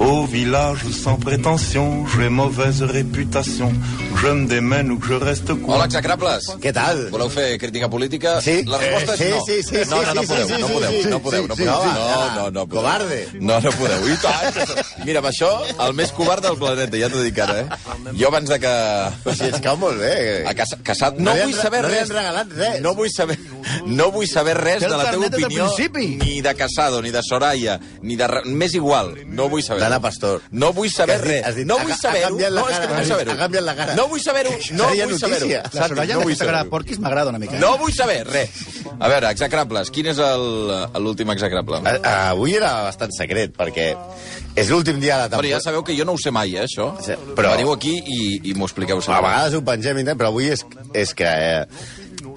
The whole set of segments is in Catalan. Au village sans prétention, j'ai mauvaise réputation. Je me démène ou que je reste cool. Hola, execrables. Què tal? Voleu fer crítica política? Sí. La resposta és Eh, no. sí, sí, sí, no, no, no sí, podeu, sí, sí, no podeu, sí, no sí, podeu, no sí, podeu. sí, No, sí. no, no podeu. Covarde. No, no podeu. I tant. que sóc- Mira, amb això, el més covard del planeta, ja t'ho dic ara, eh? Jo abans de que... Però si ens cau molt bé. A casa, casat, no, No li han vull re- saber no li res. han regalat res. No vull saber, no vull saber res Té el de la teva carnet des del opinió, principi. ni de Casado, ni de Soraya, ni de... ra- M'és igual, no vull saber. D'Anna Pastor. No vull saber Que has dit- res. has dit- no ha- vull ha saber-ho. canviat la No, és que cara, no vull has- saber-ho. ha canviat la cara. No vull saber-ho. No Seria vull saber-ho. notícia. La Soraya, no vull no aquesta cara saber-ho. de porquis, m'agrada una eh? mica. No vull saber res. A veure, execrables, quin és el- l'últim execrable? A- Avui era bastant secret, perquè és l'últim dia de la Però ja temporada. sabeu que jo no ho sé mai, eh, això. Sí, Però... però- Ah, Veniu aquí i, i m'ho expliqueu A sempre. vegades ho pengem, i tal, però avui és, és que... Eh,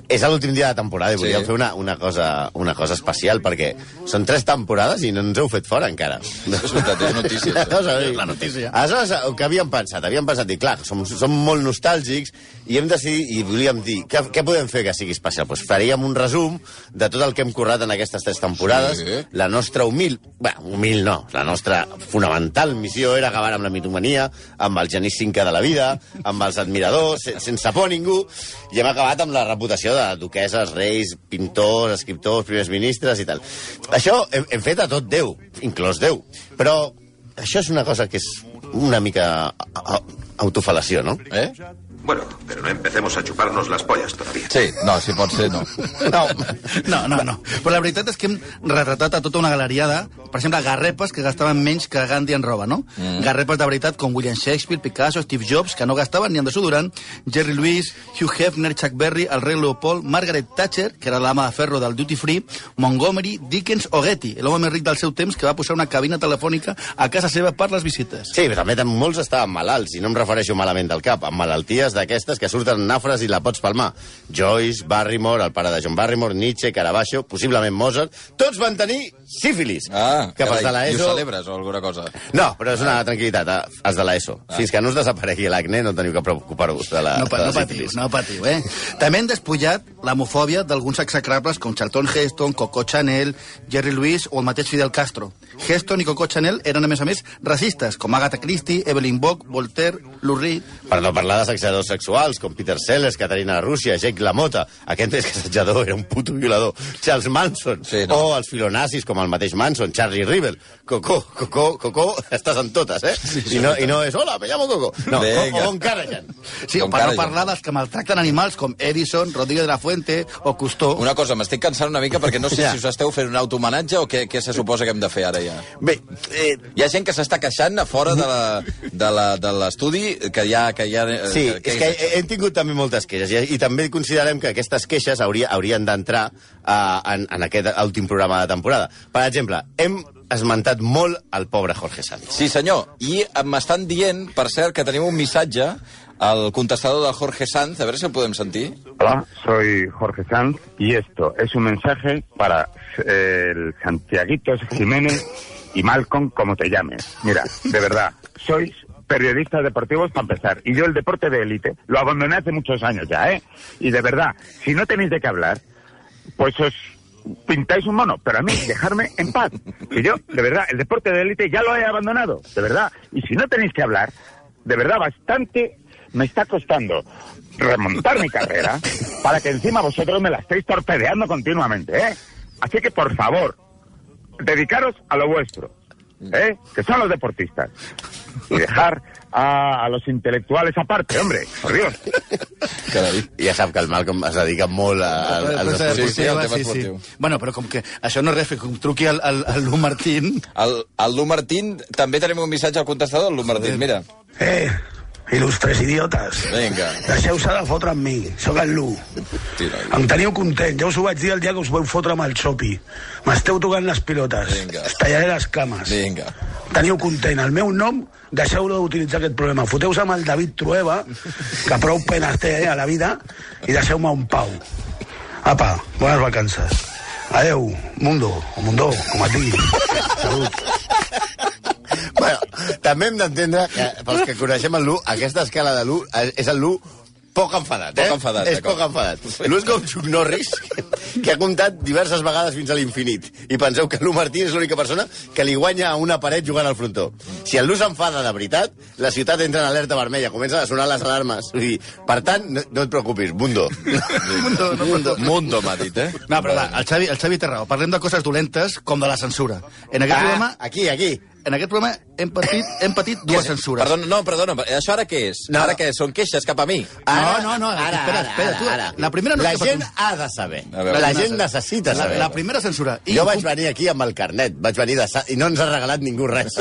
és l'últim dia de la temporada i Sí. volíem fer una, una, cosa, una cosa especial, perquè són tres temporades i no ens heu fet fora encara. És veritat, és notícia, això. Aleshores, La notícia. Aleshores, el que havíem pensat, havíem pensat, i clar, som, som molt nostàlgics, i hem decidit, i volíem dir, què, què podem fer que sigui especial? Pues faríem un resum de tot el que hem currat en aquestes tres temporades. Sí. Sí. La nostra humil... Bé, humil no, la nostra fonamental missió era acabar amb la mitomania, amb el Genís Cinca de la vida, amb els admiradors, se- sense por a ningú, i hem acabat amb la reputació de duqueses, reis, pintors, escriptors, primers ministres i tal. Això hem, hem fet a tot Déu, inclòs Déu, però això és una cosa que és una mica a- a- autofalació, no? Eh? Bueno, pero no empecemos a chuparnos las pollas todavía. Sí, no, si pot ser, no. No, No, no, no. Però la veritat és que hem retratat a tota una galeriada, per exemple, garrepes que gastaven menys que Gandhi en roba, no? Mm. Garrepes de veritat com William Shakespeare, Picasso, Steve Jobs, que no gastaven ni en desodorant, Jerry Lewis, Hugh Hefner, Chuck Berry, el rei Leopold, Margaret Thatcher, que era l'ama de ferro del Duty Free, Montgomery, Dickens o Getty, l'home més ric del seu temps que va posar una cabina telefònica a casa seva per les visites. Sí, però també tam- molts estaven malalts, i no em refereixo malament del cap, amb malalties d'aquestes que surten nafres i la pots palmar. Joyce, Barrymore, el pare de John Barrymore, Nietzsche, Caravaggio, possiblement Mozart, tots van tenir sífilis. Ah, que pels de carai, i ho Ah. l'ESO... celebres o alguna cosa? No, però és una tranquil·litat, eh? els de l'ESO. Ah. Fins que no us desaparegui l'acne no teniu que preocupar-vos de la, no, pa, de la no patiu, sífilis. no patiu, eh? També han despullat l'homofòbia d'alguns execrables com Charlton Heston, Coco Chanel, Jerry Lewis o el mateix Fidel Castro. Heston i Coco Chanel eren, a més a més, racistes, com Agatha Christie, Evelyn Bock, Voltaire, Lou Reed... Per no parlar d'assetjadors sexuals, com Peter Sellers, Caterina Rússia, Jake LaMotta. Aquest és que assetjador era un puto violador. Charles Manson. Sí, no. O els filonazis, com el mateix Manson, Charlie Rivel. Cocó, Cocó, Cocó, estàs en totes, eh? I, no, i no és, hola, me llamo Cocó. No, Vinga. o, o Bon Carregan. Sí, o Com per cara no jo. parlar dels que maltracten animals com Edison, Rodríguez de la Fuente o Cousteau. Una cosa, m'estic cansant una mica perquè no sé Ja. si us esteu fent un automenatge o què, què se suposa que hem de fer ara ja. Bé, eh, Hi ha gent que s'està queixant a fora de la- de la- de l'estudi que ja... Que ja eh, Sí, que, és que hem tingut també moltes queixes i, i també considerem que aquestes queixes hauria, haurien d'entrar uh, en, en aquest últim programa de temporada. Per exemple, hem esmentat molt el pobre Jorge Sanz. Sí, senyor. I m'estan dient, per cert, que tenim un missatge al contestador del Jorge Sanz, a veure si el podem sentir. Hola, soy Jorge Sanz y esto es un mensaje para eh, el Santiaguitos Jiménez y Malcolm, como te llames. Mira, de verdad, sois periodistas deportivos para empezar. Y yo el deporte de élite lo abandoné hace muchos años ya, ¿eh? Y de verdad, si no tenéis de qué hablar, pues os pintáis un mono, pero a mí dejarme en paz. Que yo, de verdad, el deporte de élite ya lo he abandonado, de verdad. Y si no tenéis que hablar, de verdad, bastante me está costando remontar mi carrera para que encima vosotros me la estéis torpedeando continuamente, ¿eh? Así que, por favor, dedicaros a lo vuestro, ¿eh? Que son los deportistas. Y dejar a, a los intelectuales aparte, hombre, por Dios. Carai. Ja sap que el Malcolm es dedica molt a, a, als Cosa esports. sí, sí, el tema esportiva, esportiu. Bueno, però com que això no és res, que truqui al, al, al Lu Martín... El, el Lu Martín, també tenim un missatge al contestador, el Lu Martín, mira. Eh, il·lustres idiotes. Vinga. Deixeu-se de fotre amb mi, sóc el Lu. Tira, Em teniu content, ja us ho vaig dir el dia que us vau fotre amb el xopi. M'esteu tocant les pilotes, Vinga. us tallaré les cames. Vinga. Teniu content el meu nom, deixeu-lo d'utilitzar aquest problema. Foteu-se amb el David Trueba, que prou penes té eh, a la vida, i deixeu-me un pau. Apa, bones vacances. Adeu, mundo, o mundo, com a tu. Bueno, també hem d'entendre que, pels que coneixem el Lu, aquesta escala de Lu eh, és el Lu poc enfadat, eh? Poc enfadat, És d'acord. poc enfadat. Lu és com Chuck Norris, que ha comptat diverses vegades fins a l'infinit. I penseu que Lu Martí és l'única persona que li guanya a una paret jugant al frontó. Si el Lu s'enfada de veritat, la ciutat entra en alerta vermella, comencen a sonar les alarmes. I, per tant, no, no et preocupis, Mundo. Mundo, no Mundo. Mundo m'ha dit, eh? No, però va, el Xavi, el Xavi té raó. Parlem de coses dolentes com de la censura. En aquest, ah, programa, Ah, aquí, aquí. en aquest programa hem patit, hem patit dues censures. Perdona, no, perdona, això ara què és? No. Ara què? Són queixes cap a mi? Ara, no, no, ara, ara, espera, ara, espera, tu, ara, ara. la primera no és la que fa gent tu. ha de saber. A veure. la gent necessita La, saber. la primera censura. Jo vaig venir aquí amb el carnet, vaig venir de sa... i no ens ha regalat ningú res.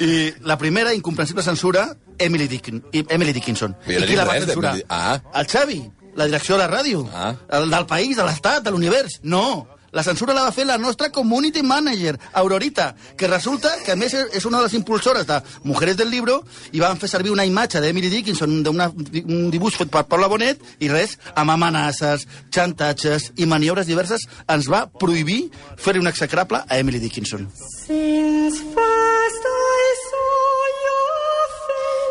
I la primera incomprensible censura, Emily, Dickin, i- Emily Dickinson. Jo no I qui dic la va res de- censurar? Ah. El Xavi, la direcció de la ràdio, Ah. el del país, de l'estat, de l'univers. No, la censura la va fer la nostra community manager, Aurorita, que resulta que a més és una de les impulsores de Mujeres del Libro i van fer servir una imatge d'Emily Dickinson, d'una- d'un dibuix fet per Paula Bonet, i res, amb amenaces, xantatges i maniobres diverses ens va prohibir fer un execrable a Emily Dickinson.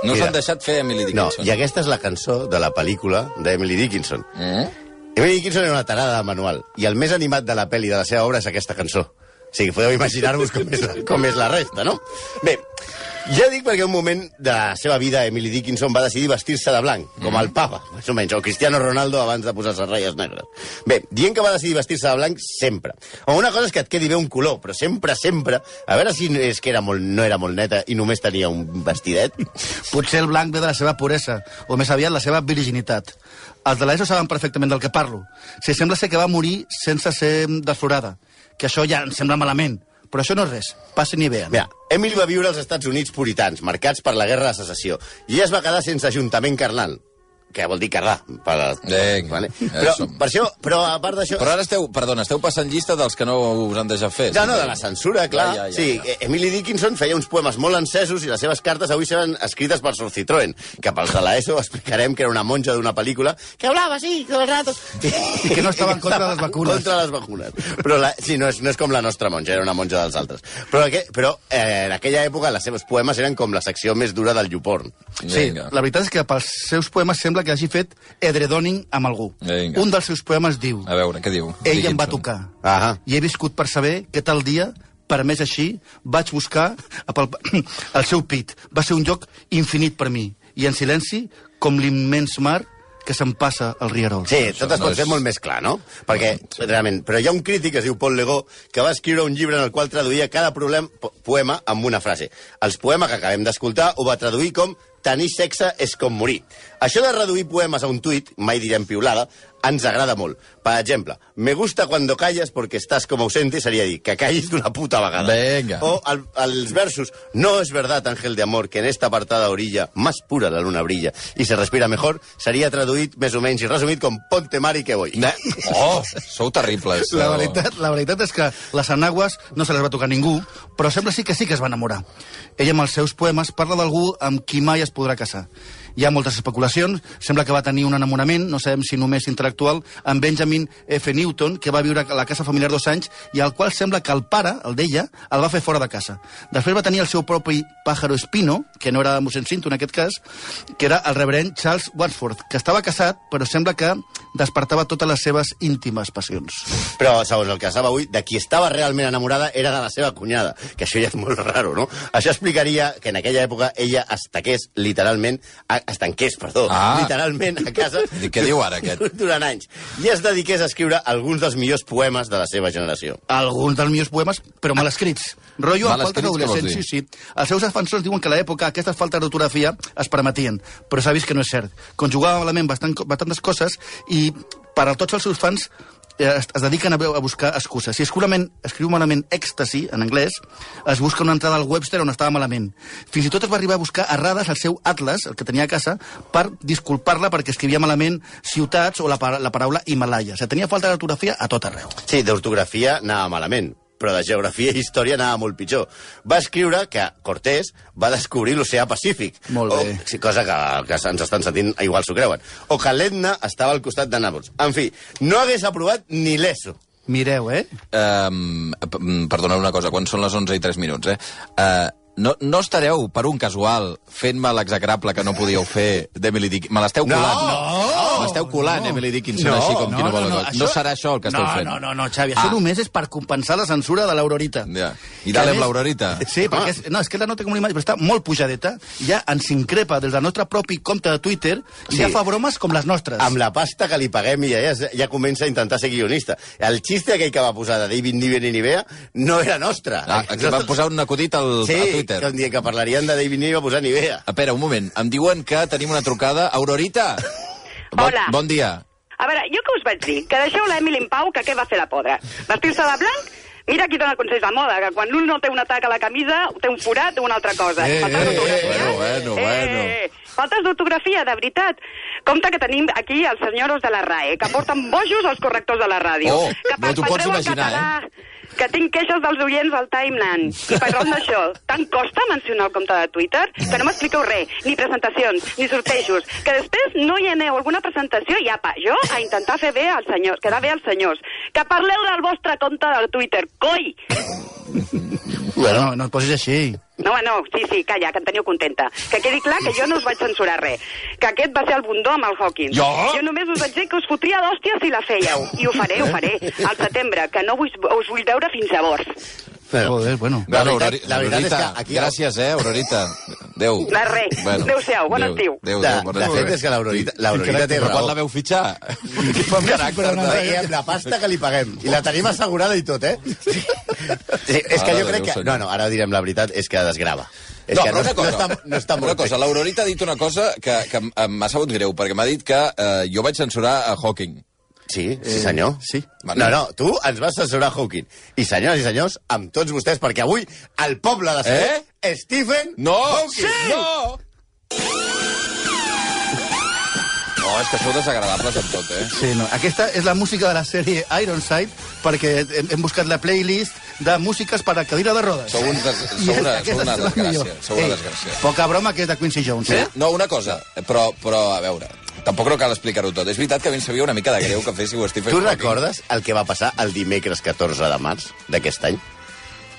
No Mira. s'han deixat fer Emily No, Dickinson. i aquesta és la cançó de la pel·lícula d'Emily Dickinson. Eh? Emily Dickinson era una tarada de manual, i el més animat de la pel·li de la seva obra és aquesta cançó. O sigui, podeu imaginar-vos com, és la, com és la resta, no? Bé, ja dic perquè un moment de la seva vida Emily Dickinson va decidir vestir-se de blanc, com el papa, més o menys, o Cristiano Ronaldo abans de posar-se ratlles negres. Bé, dient que va decidir vestir-se de blanc sempre. O una cosa és que et quedi bé un color, però sempre, sempre... A veure si no- és que era molt, no era molt neta i només tenia un vestidet. Potser el blanc ve de la seva puresa, o més aviat la seva virginitat. Els de l'ESO saben perfectament del que parlo. Si sembla ser que va morir sense ser desflorada, que això ja em sembla malament, però això no és res, passin i vean. Mira, Emily va viure als Estats Units puritans, marcats per la guerra de secessió, i ella es va quedar sense ajuntament carnal, que vol dir carrà. Per... Vinga, Eh, Però, som. per això, però a part d'això... Però ara esteu, perdona, esteu passant llista dels que no us han deixat fer. No, no, de la censura, clar. Ja, ja, ja, sí, eh, E- ja. Emily Dickinson feia uns poemes molt encesos i les seves cartes avui seran escrites per Sor Citroën, que pels de l'ESO explicarem que era una monja d'una pel·lícula que hablava així, todo el rato. I que no estava en contra de les vacunes. Contra les vacunes. Però la, sí, no és, no és com la nostra monja, era una monja dels altres. Però, aqu però eh, en aquella època els seus poemes eren com la secció més dura del Youporn. Sí, Vinga. la veritat és que pels seus poemes sembla que hagi fet edredoning amb algú. Vinga. Un dels seus poemes diu... A veure, què diu? Ell em va Dickinson. tocar. Ahà. I he viscut per saber que tal dia, per més així, vaig buscar a pel, el seu pit. Va ser un lloc infinit per mi. I en silenci, com l'immens mar que se'n passa al rierol. Sí, tot es no pot és- fer molt més clar, no? Perquè, realment, però hi ha un crític que es diu Paul Legó que va escriure un llibre en el qual traduïa cada problem, po- poema amb una frase. Els poemes que acabem d'escoltar ho va traduir com tenir sexe és com morir. Això de reduir poemes a un tuit, mai direm piulada, ens agrada molt. Per exemple, me gusta cuando callas porque estás como ausente seria dir que callis d'una puta vegada. Venga. O Oh, al, als versos, no es verdad, ángel de amor, que en esta apartada orilla más pura la luna brilla y se respira mejor, seria traduït més o menys i resumit com ponte mari que voy. Ne- Oh, sou terribles. La eh? veritat, la veritat és que les enagues no se les va tocar ningú, però sembla sí que sí que es va enamorar. Ella amb els seus poemes parla d'algú amb qui mai es podrà casar. Hi ha moltes especulacions, sembla que va tenir un enamorament, no sabem si només intel·lectual, amb Benjamin F. Newton, que va viure a la casa familiar dos anys i al qual sembla que el pare, el d'ella, el va fer fora de casa. Després va tenir el seu propi pájaro espino, que no era mossèn Cinto en aquest cas, que era el reverend Charles Wadsworth, que estava casat, però sembla que despertava totes les seves íntimes passions. Però, segons el que estava avui, de qui estava realment enamorada era de la seva cunyada, que això ja és molt raro, no? Això explicaria que en aquella època ella es taqués literalment, a- es tanqués, perdó, Ah. literalment a casa... I què diu ara, aquest? Durant anys. I es dediqués a escriure alguns dels millors poemes de la seva generació. alguns dels millors poemes, però mal escrits. Rollo Mal amb faltes escrits, què vols d'adolescents, sí, dir? sí. Els seus defensors diuen que a l'època aquestes faltes d'ortografia es permetien, però s'ha vist que no és cert. Conjugava malament bastant, bastantes coses i per a tots els seus fans eh, es, es dediquen a, a buscar excuses. Si segurament escriu malament èxtasi, en anglès, es busca una entrada al Webster on estava malament. Fins i tot es va arribar a buscar errades al seu atlas, el que tenia a casa, per disculpar-la perquè escrivia malament ciutats o la, pa- la paraula Himalaya. O sigui, tenia falta d'ortografia a tot arreu. Sí, d'ortografia anava malament, però de geografia i història anava molt pitjor. Va escriure que Cortés va descobrir l'oceà Pacífic. Molt bé. O, sí, cosa que, que ens estan sentint, igual s'ho creuen. O que l'Etna estava al costat de Nàpols. En fi, no hagués aprovat ni l'ESO. Mireu, eh? Um, perdoneu una cosa, quan són les 11 i 3 minuts, eh? Uh, no, no estareu, per un casual, fent-me l'execrable que no podíeu fer d'Emily Dickinson. Me l'esteu colant. no, M'esteu colant, no. Emily Dickinson, així com qui no vol la cosa. No serà això el que esteu no, fent. No, no, no, Xavi, això Ah. només és per compensar la censura de l'Aurorita. Ja. I Que dale a amb més- l'Aurorita. Sí, perquè és, no, és que la nota com una imatge, però està molt pujadeta, ja ens increpa des del nostre propi compte de Twitter i Sí. ja fa bromes com les nostres. Amb la pasta que li paguem ja, ja, ja comença a intentar ser guionista. El xiste aquell que va posar de David Niven i Nivea no era nostre. Ah, aquí van posar un acudit al, Sí, a que Twitter. un dia que parlarien de David Niven va posar Nivea. Espera, un moment. Em diuen que tenim una trucada. Aurorita! Hola. Bon, bon dia. A veure, jo què us vaig dir? Que deixeu l'Emily en pau, que què va fer la podra? Vestir-se de blanc? Mira qui dona consells de moda, que quan l'un no té un atac a la camisa, té un forat o una altra cosa. Eh, Faltes eh, d'ortografia. eh, bueno, bueno, bueno. Eh, Faltes d'ortografia, de veritat. Compte que tenim aquí els senyors de la RAE, que porten bojos els correctors de la ràdio. Oh, que no t'ho pots perpetreu el imaginar, eh? català, que tinc queixes dels oients al timeline. I per raó d'això, tant costa mencionar el compte de Twitter que no m'expliqueu res, ni presentacions, ni sortejos, que després no hi aneu a alguna presentació i apa, jo a intentar fer bé als senyors, quedar bé als senyors, que parleu del vostre compte de Twitter, coi! Bueno, no, no et posis així. No, no, sí, sí, calla, que em teniu contenta. Que quedi clar que jo no us vaig censurar res. Que aquest va ser el bundó amb el Hawking. Jo? Jo només us vaig dir que us fotria d'hòstia si la fèieu. I ho faré, ho faré. Al setembre, que no vull, us vull veure fins llavors. Joder, bueno. La Bueno, veritat- Aurori- la veritat és Aurorita, que aquí- Gràcies, eh, Aurorita. Adéu. De res. Adéu-siau, bon adéu, estiu. Adéu, De, adéu, bon de estiu. fet, és que l'Aurorita, l'Aurorita té Però quan raó. la veu fitxar? Quin caràcter. eh? Però no traiem la pasta que li paguem. I la tenim assegurada i tot, eh? Sí, és que Mare jo de crec Déu, que... senyor. No, no, ara direm la veritat, és que desgrava. És No, que però una cosa, no està, no està una molt cosa l'Aurorita ha dit una cosa que, que m- em- m'ha sabut greu, perquè m'ha dit que eh, jo vaig censurar a Hawking. Sí, Eh, sí senyor. sí. Vale. No, no, tu ens vas assessorar Hawking. I senyores i senyors, amb tots vostès, perquè avui el poble de saber eh? Stephen No! Hawking. No! No, és que sou desagradables amb tot, eh? Sí, no. Aquesta és la música de la sèrie Ironside, perquè hem, hem buscat la playlist de músiques per a cadira de rodes. Sou uns des... I sou és- una, sou aquesta una és la desgràcia. millor. Sou una Ei, desgràcia. Poca broma que és de Quincy Jones, eh? No, una cosa, però, però a veure, tampoc no cal explicar-ho tot. És veritat que a mi em sabia una mica de greu que féssiu Stephen Tu Hawking. recordes el que va passar el dimecres 14 de març d'aquest any?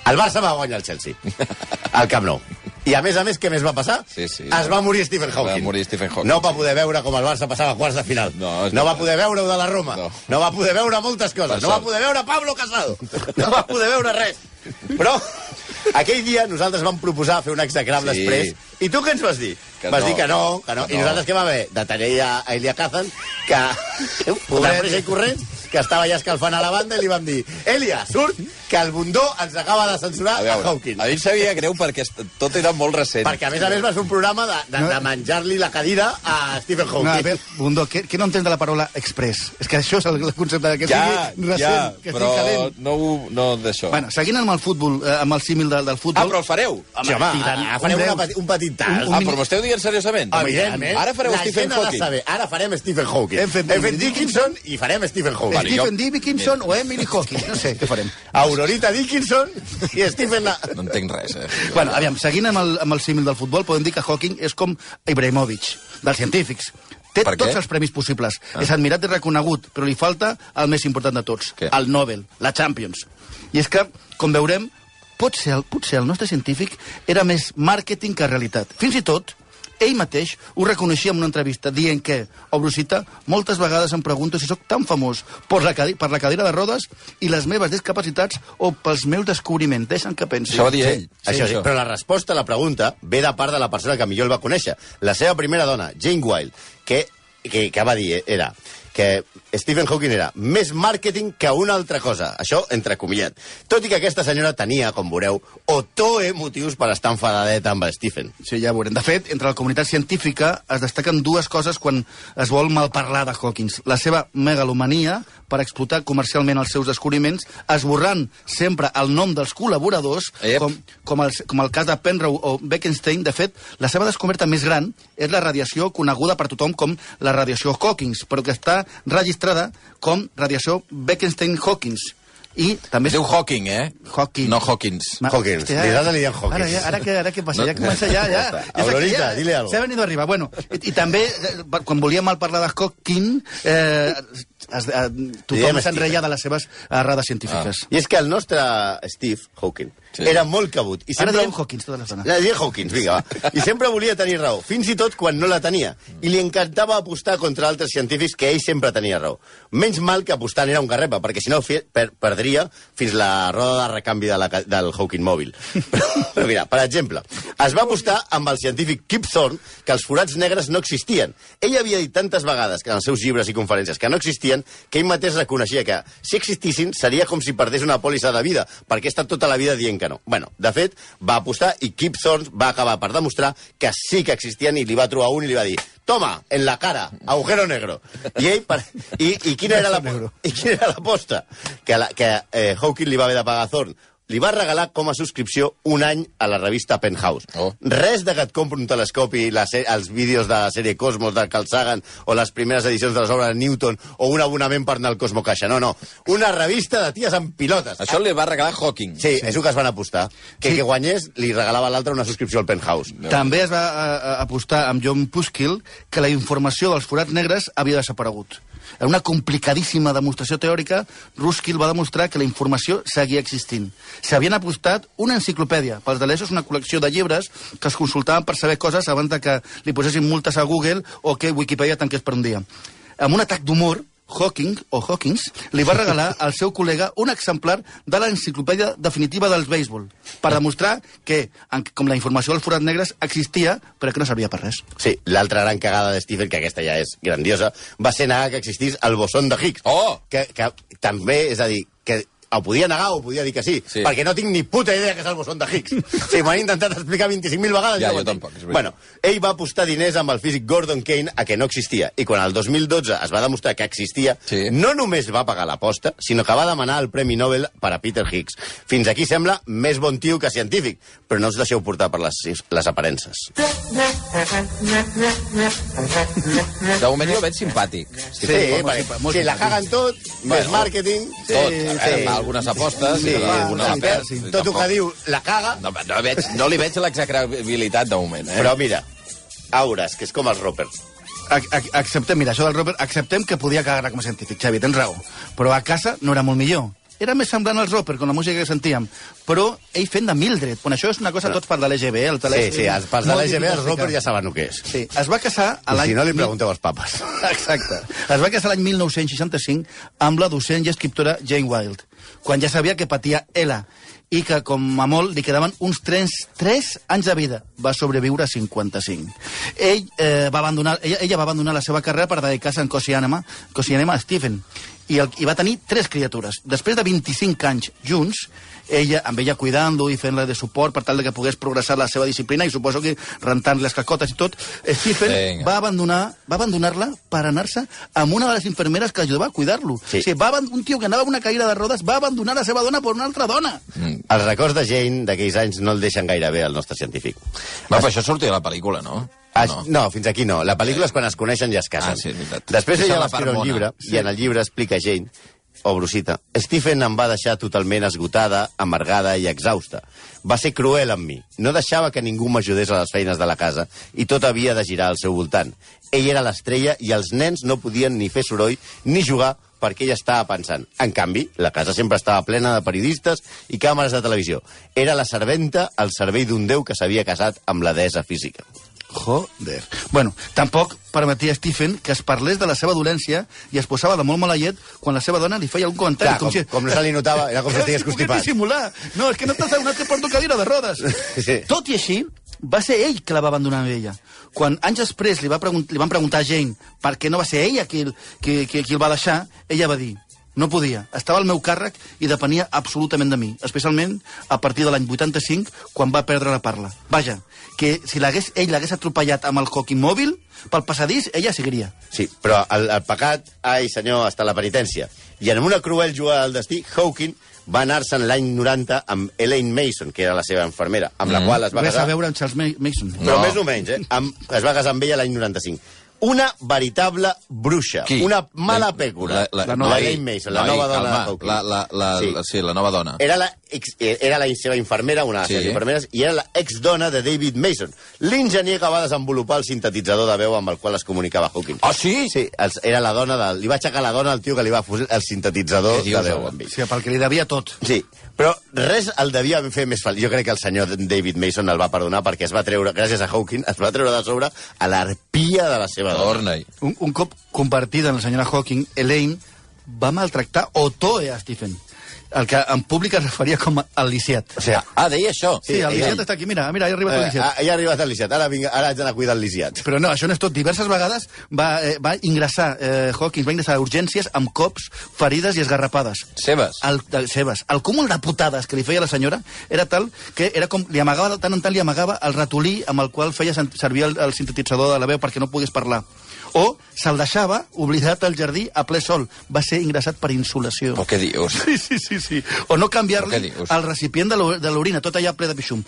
El Barça va guanyar el Chelsea, al Camp Nou. I a més a més, què més va passar? Sí, sí. es va morir Stephen Hawking. Va morir Stephen Hawking. No va poder veure com el Barça passava a quarts de final. No, és no va veritat. poder veure-ho de la Roma. No. no va poder veure moltes coses. Per no va sort. poder veure Pablo Casado. No va poder veure res. Però aquell dia nosaltres vam proposar fer un execrable Sí. després. I tu què ens vas dir? Que vas no. dir que no, que no. Que I no. nosaltres què va haver? Detenir a a Elia Kazan, que... Una pressa i corrents, que estava ja escalfant a la banda i li vam dir Elia, surt, que el bundó ens acaba de censurar A a, Ah, veure, Hawking. a mi em sabia greu perquè est- tot era molt recent. Perquè, a més a més, va ser un programa de, de, de menjar-li la cadira a Stephen No, a Hawking. veure, Bundó, què, què no entens de la paraula express? És que això és el, el concepte que ja, sigui recent, ja, que però estic calent. no, ho- no d'això. Bueno, seguint amb el futbol, eh, amb el símil del, del futbol... ah, però el fareu? Home, home tira, farem un una, deus. peti- un petit tast. ah, però m'ho esteu dient seriosament? Evidentment. Ara fareu la Stephen gent ha de Hawking. Saber. Ara farem Stephen Hawking. Hem fet Hem fet Dickinson i farem Stephen Hawking. Vale, Stephen jo- D. Dickinson o Emily Hawkins, no sé, què farem? Aurorita Dickinson i Stephen... No entenc res, eh? Bueno, aviam, seguint amb el, amb el símil del futbol, podem dir que Hawking és com Ibrahimovic, dels científics. Té Per què? tots els premis possibles. Ah. És admirat i reconegut, però li falta el més important de tots, Què? el Nobel, la Champions. I és que, com veurem, potser el, potser el nostre científic era més màrqueting que realitat. Fins i tot, ell mateix ho reconeixia en una entrevista, dient que, obro cita, moltes vegades em pregunto si sóc tan famós per la, cadi per la cadira de rodes i les meves discapacitats o pels meus descobriments. Deixa'm que pensi. Això va dir ell. Sí, això, sí, però la resposta a la pregunta ve de part de la persona que millor el va conèixer. La seva primera dona, Jane Wilde, que, que, que va dir eh, era que Stephen Hawking era més màrqueting que una altra cosa. Això, entre comillat. Tot i que aquesta senyora tenia, com veureu, o toe motius per estar enfadadeta amb Stephen. Sí, ja ho veurem. De fet, entre la comunitat científica es destaquen dues coses quan es vol malparlar de Hawkins. La seva megalomania per explotar comercialment els seus descobriments, esborrant sempre el nom dels col·laboradors, Ep. com, com, el, com el cas de Penrose o Bekenstein. De fet, la seva descoberta més gran és la radiació coneguda per tothom com la radiació Hawkins, però que està registrada com radiació Bekenstein-Hawkins. I també Es diu Hawking, eh? Hawking. No Hawkins. Ma- Hòstia, ara- Ara, ja- ara, què, ara què passa? No- ja comença ja, ja. Ja està. ja s'ha- Aurorita, ja- dile algo. S'ha venido arriba. Bueno, i, i també, eh, per- quan volia mal parlar de Hawking, eh, es, eh, tothom Diem s'enreia de les seves eh, errades científiques. Ah. I és que el nostre Steve Hawking sí. era molt cabut. I Ara sempre... diem Hawkins tota l'estona. La Dien Hawkins, vinga, va. I sempre volia tenir raó, fins i tot quan no la tenia. I li encantava apostar contra altres científics que ell sempre tenia raó. Menys mal que apostant era un garrepa, perquè si no fi- per perdria fins la roda de recanvi de la, ca- del Hawking mòbil. Però mira, per exemple, es va apostar amb el científic Kip Thorne que els forats negres no existien. Ell havia dit tantes vegades que en els seus llibres i conferències que no existien que ell mateix reconeixia que si existissin seria com si perdés una pòlissa de vida, perquè ha estat tota la vida dient que no. Bueno, de fet, va apostar i Kip Thorne va acabar per demostrar que sí que existien i li va trobar un i li va dir toma, en la cara, agujero negro. I ell, per... I, i, quina era la, i quina era l'aposta? Que, la, que eh, Hawking li va haver de pagar a Thorne li va regalar com a subscripció un any a la revista Penthouse. Oh. Res de que et compro un telescopi, la se- els vídeos de la sèrie Cosmos, de Carl Sagan, o les primeres edicions de les obres de Newton, o un abonament per anar al Cosmo Caixa. No, no. Una revista de ties amb pilotes. Això li va regalar Hawking. Sí, és el que es van apostar. Que, sí. que guanyés li regalava a l'altre una subscripció al Penthouse. També es va eh, apostar amb John Puskill que la informació dels forats negres havia desaparegut. En una complicadíssima demostració teòrica, Ruskill va demostrar que la informació seguia existint. S'havien apostat una enciclopèdia, pels dalesos una col·lecció de llibres que es consultaven per saber coses abans de que li posessin multes a Google o que Wikipedia tanqués per un dia. Amb un atac d'humor, Hawking, o Hawkins, li va regalar al seu col·lega un exemplar de l'enciclopèdia definitiva del béisbol, per demostrar que, en- com la informació dels forats negres existia, però que no servia per res. Sí, l'altra gran cagada de Stephen, que aquesta ja és grandiosa, va ser negar que existís el bosón de Higgs. Oh! Que, que també, és a dir, que ho podia negar o podia dir que sí, sí, perquè no tinc ni puta idea que és el bosón de Higgs. sí, m'han intentat explicar 25.000 vegades. Ja, i no ho jo entenc. tampoc, és veritat. Bueno, ell va apostar diners amb el físic Gordon Kane a que no existia, i quan el 2012 es va demostrar que existia, sí. no només va pagar l'aposta, sinó que va demanar el Premi Nobel per a Peter Higgs. Fins aquí sembla més bon tio que científic, però no us deixeu portar per les, les aparences. De moment jo el veig simpàtic. Sí, sí, perquè si la caguen tot, bueno, més màrqueting... Sí, tot. A veure, fa algunes apostes, sí, alguna sí, perd. Sí, Tot el que diu la caga... No, no, veig, no li veig l'execrabilitat de moment, eh? Però mira, aures, que és com els roppers. Ac- ac- Acceptem, mira, això del Robert, acceptem que podia cagar com a científic, Xavi, tens raó. Però a casa no era molt millor. Era més semblant als Roper, amb la música que sentíem. Però ell fent de Mildred. Bueno, això és una cosa tots per de l'EGB, eh, el Sí, telèfon. sí, els pas de Molt l'EGB, els típica. roppers ja saben el que és. Sí, es va casar a I l'any... si no, li mil- pregunteu als papes. Exacte. Es va casar l'any 1965 amb la docent i escriptora Jane Wilde, quan ja sabia que patia ELA i que, com a molt, li quedaven uns 3, 3 anys de vida. Va sobreviure a 55. Ell, eh, va abandonar, ella, ella va abandonar la seva carrera per dedicar-se en Cosianema, Cosianema a Stephen. I, el, I va tenir tres criatures. Després de 25 anys junts, ella, amb ella cuidant-lo i fent-la de suport per tal de que pogués progressar la seva disciplina i suposo que rentant les cascotes i tot, Stephen Vinga. va abandonar va abandonar-la per anar-se amb una de les infermeres que ajudava a cuidar-lo. Sí. O sigui, va aban- un tio que anava amb una caïra de rodes va abandonar la seva dona per una altra dona. Mm. Els records de Jane d'aquells anys no el deixen gaire bé al nostre científic. Va, però això sortia a la pel·lícula, no? Ah, no? no, fins aquí no. La pel·lícula és quan es coneixen i es casen. Ah, sí, és veritat. Després Aquesta ella és la va escriure part un bona. llibre, Sí. sí. i en el llibre explica Jane, o Brusita, Stephen em va deixar totalment esgotada, amargada i exhausta. Va ser cruel amb mi. No deixava que ningú m'ajudés a les feines de la casa i tot havia de girar al seu voltant. Ell era l'estrella i els nens no podien ni fer soroll ni jugar perquè ella estava pensant. En canvi, la casa sempre estava plena de periodistes i càmeres de televisió. Era la serventa al servei d'un déu que s'havia casat amb la deessa física. Joder. Bueno, tampoc permetia a Stephen que es parlés de la seva dolència i es posava de molt mala llet quan la seva dona li feia un comentari. Clar, com- com no se li notava, era com si estigués si pogués constipat. dissimular. No, és que no t'has adonat que porto cadira de rodes. Sí. Tot i així, va ser ell que la va abandonar amb ella. Quan anys després li, va pregun- li van preguntar a Jane per què no va ser ella qui, el- qui, qui, qui el va deixar, ella va dir no podia, estava al meu càrrec i depenia absolutament de mi, especialment a partir de l'any 85, quan va perdre la parla. Vaja, que si l'hagués ell l'hagués atropellat amb el coc immòbil, pel passadís ella seguiria. Sí, però el, el pecat, ai senyor, està a la penitència. I en una cruel jugada del destí, Hawking va anar-se'n l'any 90 amb Elaine Mason, que era la seva enfermera, amb la qual es va Res casar... a veure amb Charles Ma- Mason. Però més o menys, eh? Amb, es va casar amb ella l'any 95. Una veritable bruixa. Qui? Una mala La- pècora. la- la- la noi, Jane Mason, la noi, nova dona calma, de Hawking. la- la- la- la- sí, la nova dona. Era la, ex, eh, era la seva infermera, una de les Sí. seves infermeres, i era la exdona de David Mason, l'enginyer que va desenvolupar el sintetitzador de veu amb el qual es comunicava Hawking. Ah, sí? Sí, els, era la dona del... Li va aixecar la dona al tio que li va posar el sintetitzador de veu amb ell. Sí, pel que li devia tot. Sí, però res el devia fer més feliç. Jo crec que el senyor David Mason el va perdonar perquè es va treure, gràcies a Hawking, es va treure de sobre a l'arpia de la seva dona. Un, un cop convertida en la senyora Hawking, Elaine va maltractar o toe a Stephen, el que en públic es referia com a Aliciat. O sigui, ah, deia això? Sí, el Lisiat està aquí, mira, mira, ha arribat Eh, el Lisiat. Ja ha arribat el Lisiat, ara, vinga, ara haig d'anar a cuidar el Lisiat. Però no, això no és tot. Diverses vegades va, eh, va ingressar, eh, Hawkins va ingressar a urgències amb cops, ferides i esgarrapades. Seves. El, de, seves. El cúmul de putades que li feia la senyora era tal que era com, li amagava, de tant en tant li amagava el ratolí amb el qual feia sen- servir el, el sintetitzador de la veu perquè no pogués parlar. O se'l deixava oblidat al jardí a ple sol. Va ser ingressat per insolació. Però què dius? Sí, sí, sí, sí. O no canviar-li el recipient de l'u- de l'orina, tot allà ple de pixum.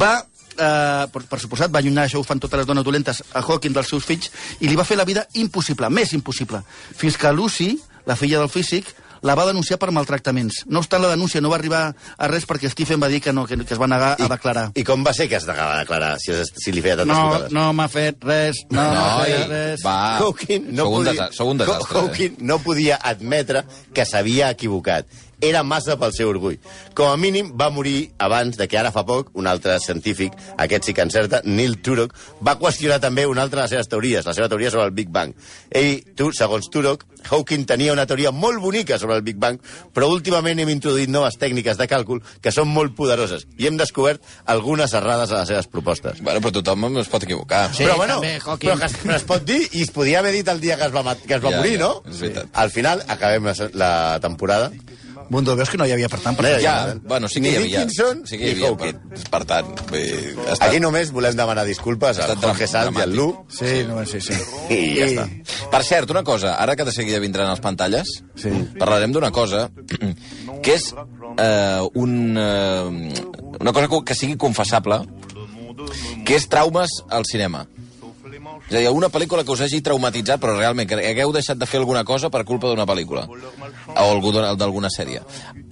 Va, eh, per, per suposat, va allunyar, això ho fan totes les dones dolentes, a Hawking dels seus fills, i li va fer la vida impossible, més impossible. Fins que Lucy, la filla del físic, la va denunciar per maltractaments. No obstant, la denúncia no va arribar a res perquè Stephen va dir que no, que, que es va negar a declarar. I com va ser que es negava a declarar si, es, si li feia tantes No, putades? no m'ha fet res, no, no m'ha Noi, fet res. Hawking no Sou un podia, desa- sou un desastre, eh? Hawking no podia admetre que s'havia equivocat. Era massa pel seu orgull. Com a mínim, va morir abans de que ara fa poc un altre científic, aquest sí que encerta, Neil Turok, va qüestionar també una altra de les seves teories, la seva teoria sobre el Big Bang. Ell, tu, segons Turok, Hawking tenia una teoria molt bonica sobre el Big Bang, però últimament hem introduït noves tècniques de càlcul que són molt poderoses i hem descobert algunes errades a les seves propostes. Bueno, però tothom es pot equivocar. però, bueno, però, que, es- però es pot dir i es podia haver dit el dia que es va, mat- que es va Ja, morir, ja, no? és veritat. Al final acabem la, se- la temporada. Mundo, veus que no hi havia, per tant, per No hi havia Ja, nada. bueno, sí que Ni hi havia. Dickinson sí que hi ni havia, Hawking. per, per tant... Bé, ha estat- Aquí només volem demanar disculpes Ha al estat Jorge dram- Sanz i al Lu. Sí, no, sí, sí. I ja I- està. Per cert, una cosa, ara que de seguida vindran els pantalles, sí. parlarem d'una cosa que és eh, un, eh, una cosa que- que sigui confessable, que és traumes al cinema. És a dir, una pel·lícula que us hagi traumatitzat, però realment que hagueu deixat de fer alguna cosa per culpa d'una pel·lícula. O algú d'una- d'alguna sèrie.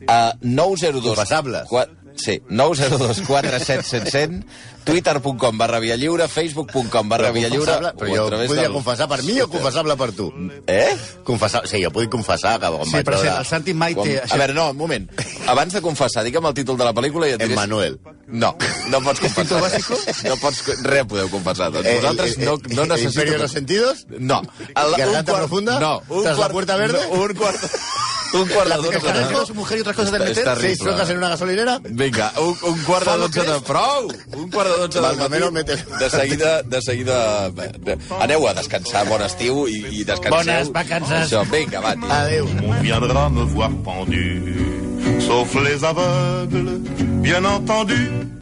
Uh, 902... Confessables. Qua- Sí, 902 477 twitter.com barra via lliure, facebook.com barra via lliure... confessable- o però a jo través podria del- confessar per mi o confessable per tu? Eh? Confessar, sí, jo puc confessar que quan Sí, vaig per veure cert, el Santi mai Com... té... A veure, no, un moment. Abans de confessar, digue'm el títol de la pel·lícula i et diré... si- Emmanuel. No, no pots confessar. Instinto básico? No pots... Res podeu confessar. Doncs vosaltres Eh, eh, no, eh, no eh, Imperio de necessito... los sentidos? No. El, Garganta profunda? No. Tras la puerta verde? no, un quart... Un quart de dotze... Cada vez dos mujeres y otras cosas del Está- ¿eh? meter. está Seis Terrible. trocas en una gasolinera? Vinga, un, un quart de Fa lo dotze que de... és. Prou! Un quart de dotze del Baldomero matí. mete- De seguida, de seguida... Aneu a descansar, bon estiu i, i descanseu. Bones vacances. Això, vinga, va, tio. Adéu. On viendra me voir pendu, sauf les aveugles, bien entendu.